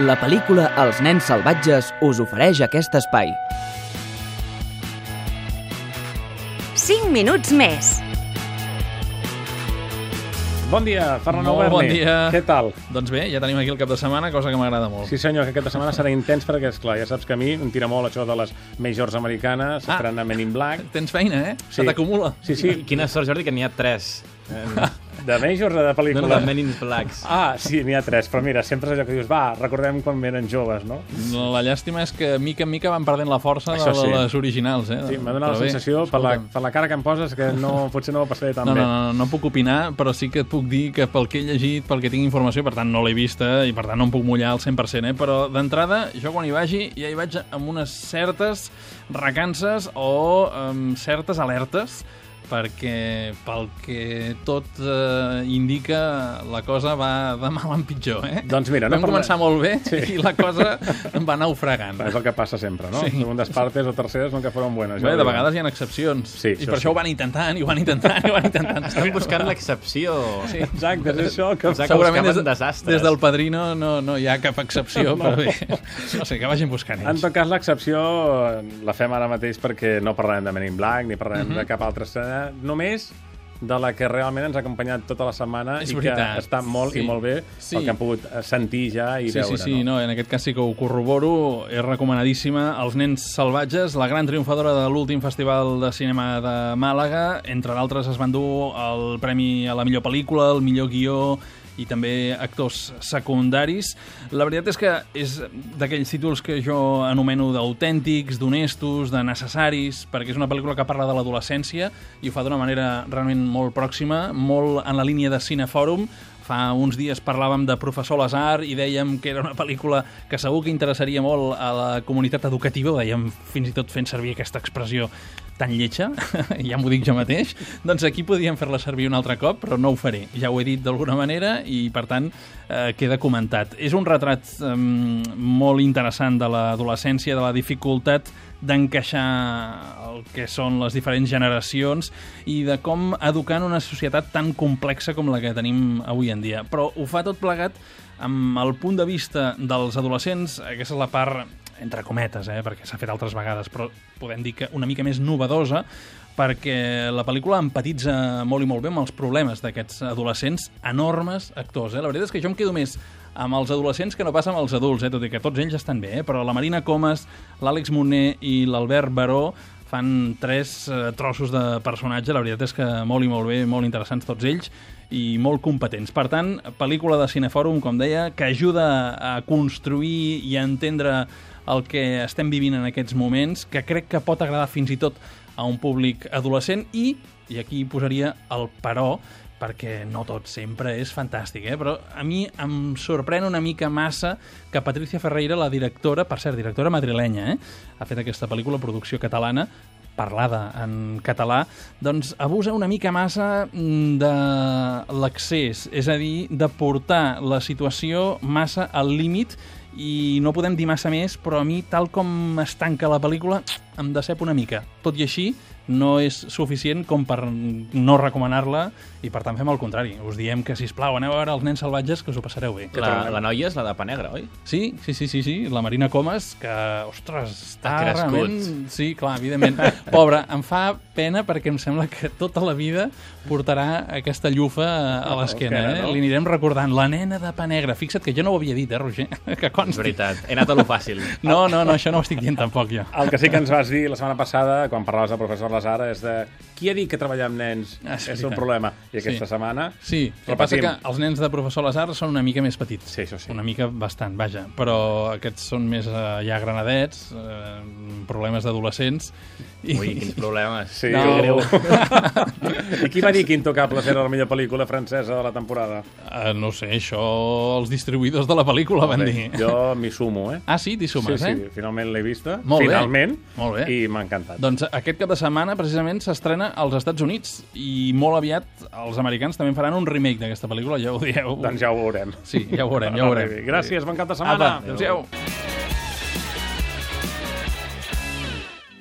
La pel·lícula Els nens salvatges us ofereix aquest espai. 5 minuts més. Bon dia, Ferran Molt Alberni. bon dia. Què tal? Doncs bé, ja tenim aquí el cap de setmana, cosa que m'agrada molt. Sí senyor, que aquesta setmana serà intens perquè, és clar, ja saps que a mi em tira molt això de les majors americanes, ah. Ah. estrenant Men in Black. Tens feina, eh? Sí. Se t'acumula. Sí, sí, Quina sort, Jordi, que n'hi ha tres. Eh, de majors o de No, no, pel·lícules? de Men in Blacks. Ah, sí, n'hi ha tres, però mira, sempre és allò que dius, va, recordem quan eren joves, no? La llastima és que mica en mica van perdent la força Això de sí. les originals, eh? Sí, m'ha donat la Però bé, sensació, per la, escolta'm. per la cara que em poses, que no, potser no ho passaré tan No, bé. no, no, no puc opinar, però sí que et puc dir que pel que he llegit, pel que tinc informació, per tant no l'he vista i per tant no em puc mullar al 100%, eh? però d'entrada jo quan hi vagi ja hi vaig amb unes certes recances o amb certes alertes perquè pel que tot eh, indica la cosa va de mal en pitjor, eh? Doncs mira, no Vam començar molt bé Sí. sí. i la cosa va naufragant. És el que passa sempre, no? Sí. Sí. Segundes partes o terceres nunca fueron buenas. Bé, ja ho de diuen. vegades hi ha excepcions Sí, i això per sí. això ho van intentant i ho van intentant i ho van intentant. Estan buscant l'excepció. Ah. Sí. Exacte, és això que... Exacte. Segurament des, buscaven desastres. des del padrino no, no hi ha cap excepció, però bé, no sé, que vagin buscant En ells. tot cas, l'excepció eh, la fem ara mateix perquè no parlarem de Men in Black ni parlarem Mhm. de cap altra escena, només de la que realment ens ha acompanyat tota la setmana És i veritat, que està molt sí. i molt bé Sí. el que hem pogut eh, sentir ja i Sí, sí, veure. sí, no? no, en aquest cas sí que ho corroboro. És recomanadíssima Els nens salvatges, la gran triomfadora de l'últim festival de cinema de Màlaga. Entre d'altres es van dur el premi a la millor pel·lícula, el millor guió i també actors secundaris. La veritat és que és d'aquells títols que jo anomeno d'autèntics, d'honestos, de necessaris, perquè és una pel·lícula que parla de l'adolescència i ho fa d'una manera realment molt pròxima, molt en la línia de Cinefòrum, Fa uns dies parlàvem de Professor Lazar i dèiem que era una pel·lícula que segur que interessaria molt a la comunitat educativa, ho dèiem fins i tot fent servir aquesta expressió tan lletja, ja m'ho dic jo mateix, doncs aquí podíem fer-la servir un altre cop, però no ho faré. Ja ho he dit d'alguna manera i, per tant, eh, queda comentat. És un retrat eh, molt interessant de l'adolescència, de la dificultat d'encaixar el que són les diferents generacions i de com educar en una societat tan complexa com la que tenim avui en dia. Però ho fa tot plegat amb el punt de vista dels adolescents, aquesta és la part entre cometes, eh, perquè s'ha fet altres vegades, però podem dir que una mica més novedosa, perquè la pel·lícula empatitza molt i molt bé amb els problemes d'aquests adolescents, enormes actors. Eh? La veritat és que jo em quedo més amb els adolescents que no passa amb els adults, eh? tot i que tots ells estan bé, eh? però la Marina Comas, l'Àlex Moner i l'Albert Baró fan tres eh, trossos de personatge, la veritat és que molt i molt bé, molt interessants tots ells i molt competents. Per tant, pel·lícula de Cinefòrum, com deia, que ajuda a construir i a entendre el que estem vivint en aquests moments, que crec que pot agradar fins i tot a un públic adolescent i, i aquí hi posaria el però, perquè no tot sempre és fantàstic, eh? però a mi em sorprèn una mica massa que Patricia Ferreira, la directora, per cert, directora madrilenya, eh? ha fet aquesta pel·lícula, producció catalana, parlada en català, doncs abusa una mica massa mm, de l'accés, és a dir, de portar la situació massa al límit i no podem dir massa més, però a mi, tal com es tanca la pel·lícula, em decep una mica. Tot i així, no és suficient com per no recomanar-la i, per tant, fem el contrari. Us diem que, si plau, aneu a veure els nens salvatges, que us ho passareu bé. La, la noia és la de Panegra, oi? Sí, sí, sí, sí, sí, la Marina Comas, que, ostres, està Ha crescut. realment... Sí, clar, evidentment. Pobra, em fa pena perquè em sembla que tota la vida portarà aquesta llufa a l'esquena, Encara, eh? no? Li anirem recordant, la nena de pa negra. Fixa't que jo no ho havia dit, eh, Roger? Que És consti. veritat, he anat a lo fàcil. No, no, no, això no ho estic dient tampoc, jo. El que sí que ens vas dir la setmana passada, quan parlaves del professor Lazara, és de qui ha dit que treballar amb nens Ah, és, és un veritat. problema. I aquesta Sí. setmana... Sí, el que passa repetim. que els nens de professor Lazar són una mica més petits. Sí, això sí. Una mica bastant, vaja. Però aquests són més eh, ja granadets, eh, problemes d'adolescents. I... Ui, quins problemes. Sí, No. que greu. I qui va dir que Intocables era la millor pel·lícula francesa de la temporada? Eh, no ho sé, això els distribuïdors de la pel·lícula van dir. Jo m'hi sumo, eh? Ah, sí? T'hi sumes, sí, sí, eh? finalment l'he vista. Molt bé. finalment, Molt bé. I m'ha encantat. Doncs aquest cap de setmana, precisament, s'estrena als Estats Units i molt aviat els americans també faran un remake d'aquesta pel·lícula, ja ho dieu. Doncs ja ho veurem. Sí, ja ho veurem, ja ho veurem. Gràcies, bon cap de setmana. Apa, adéu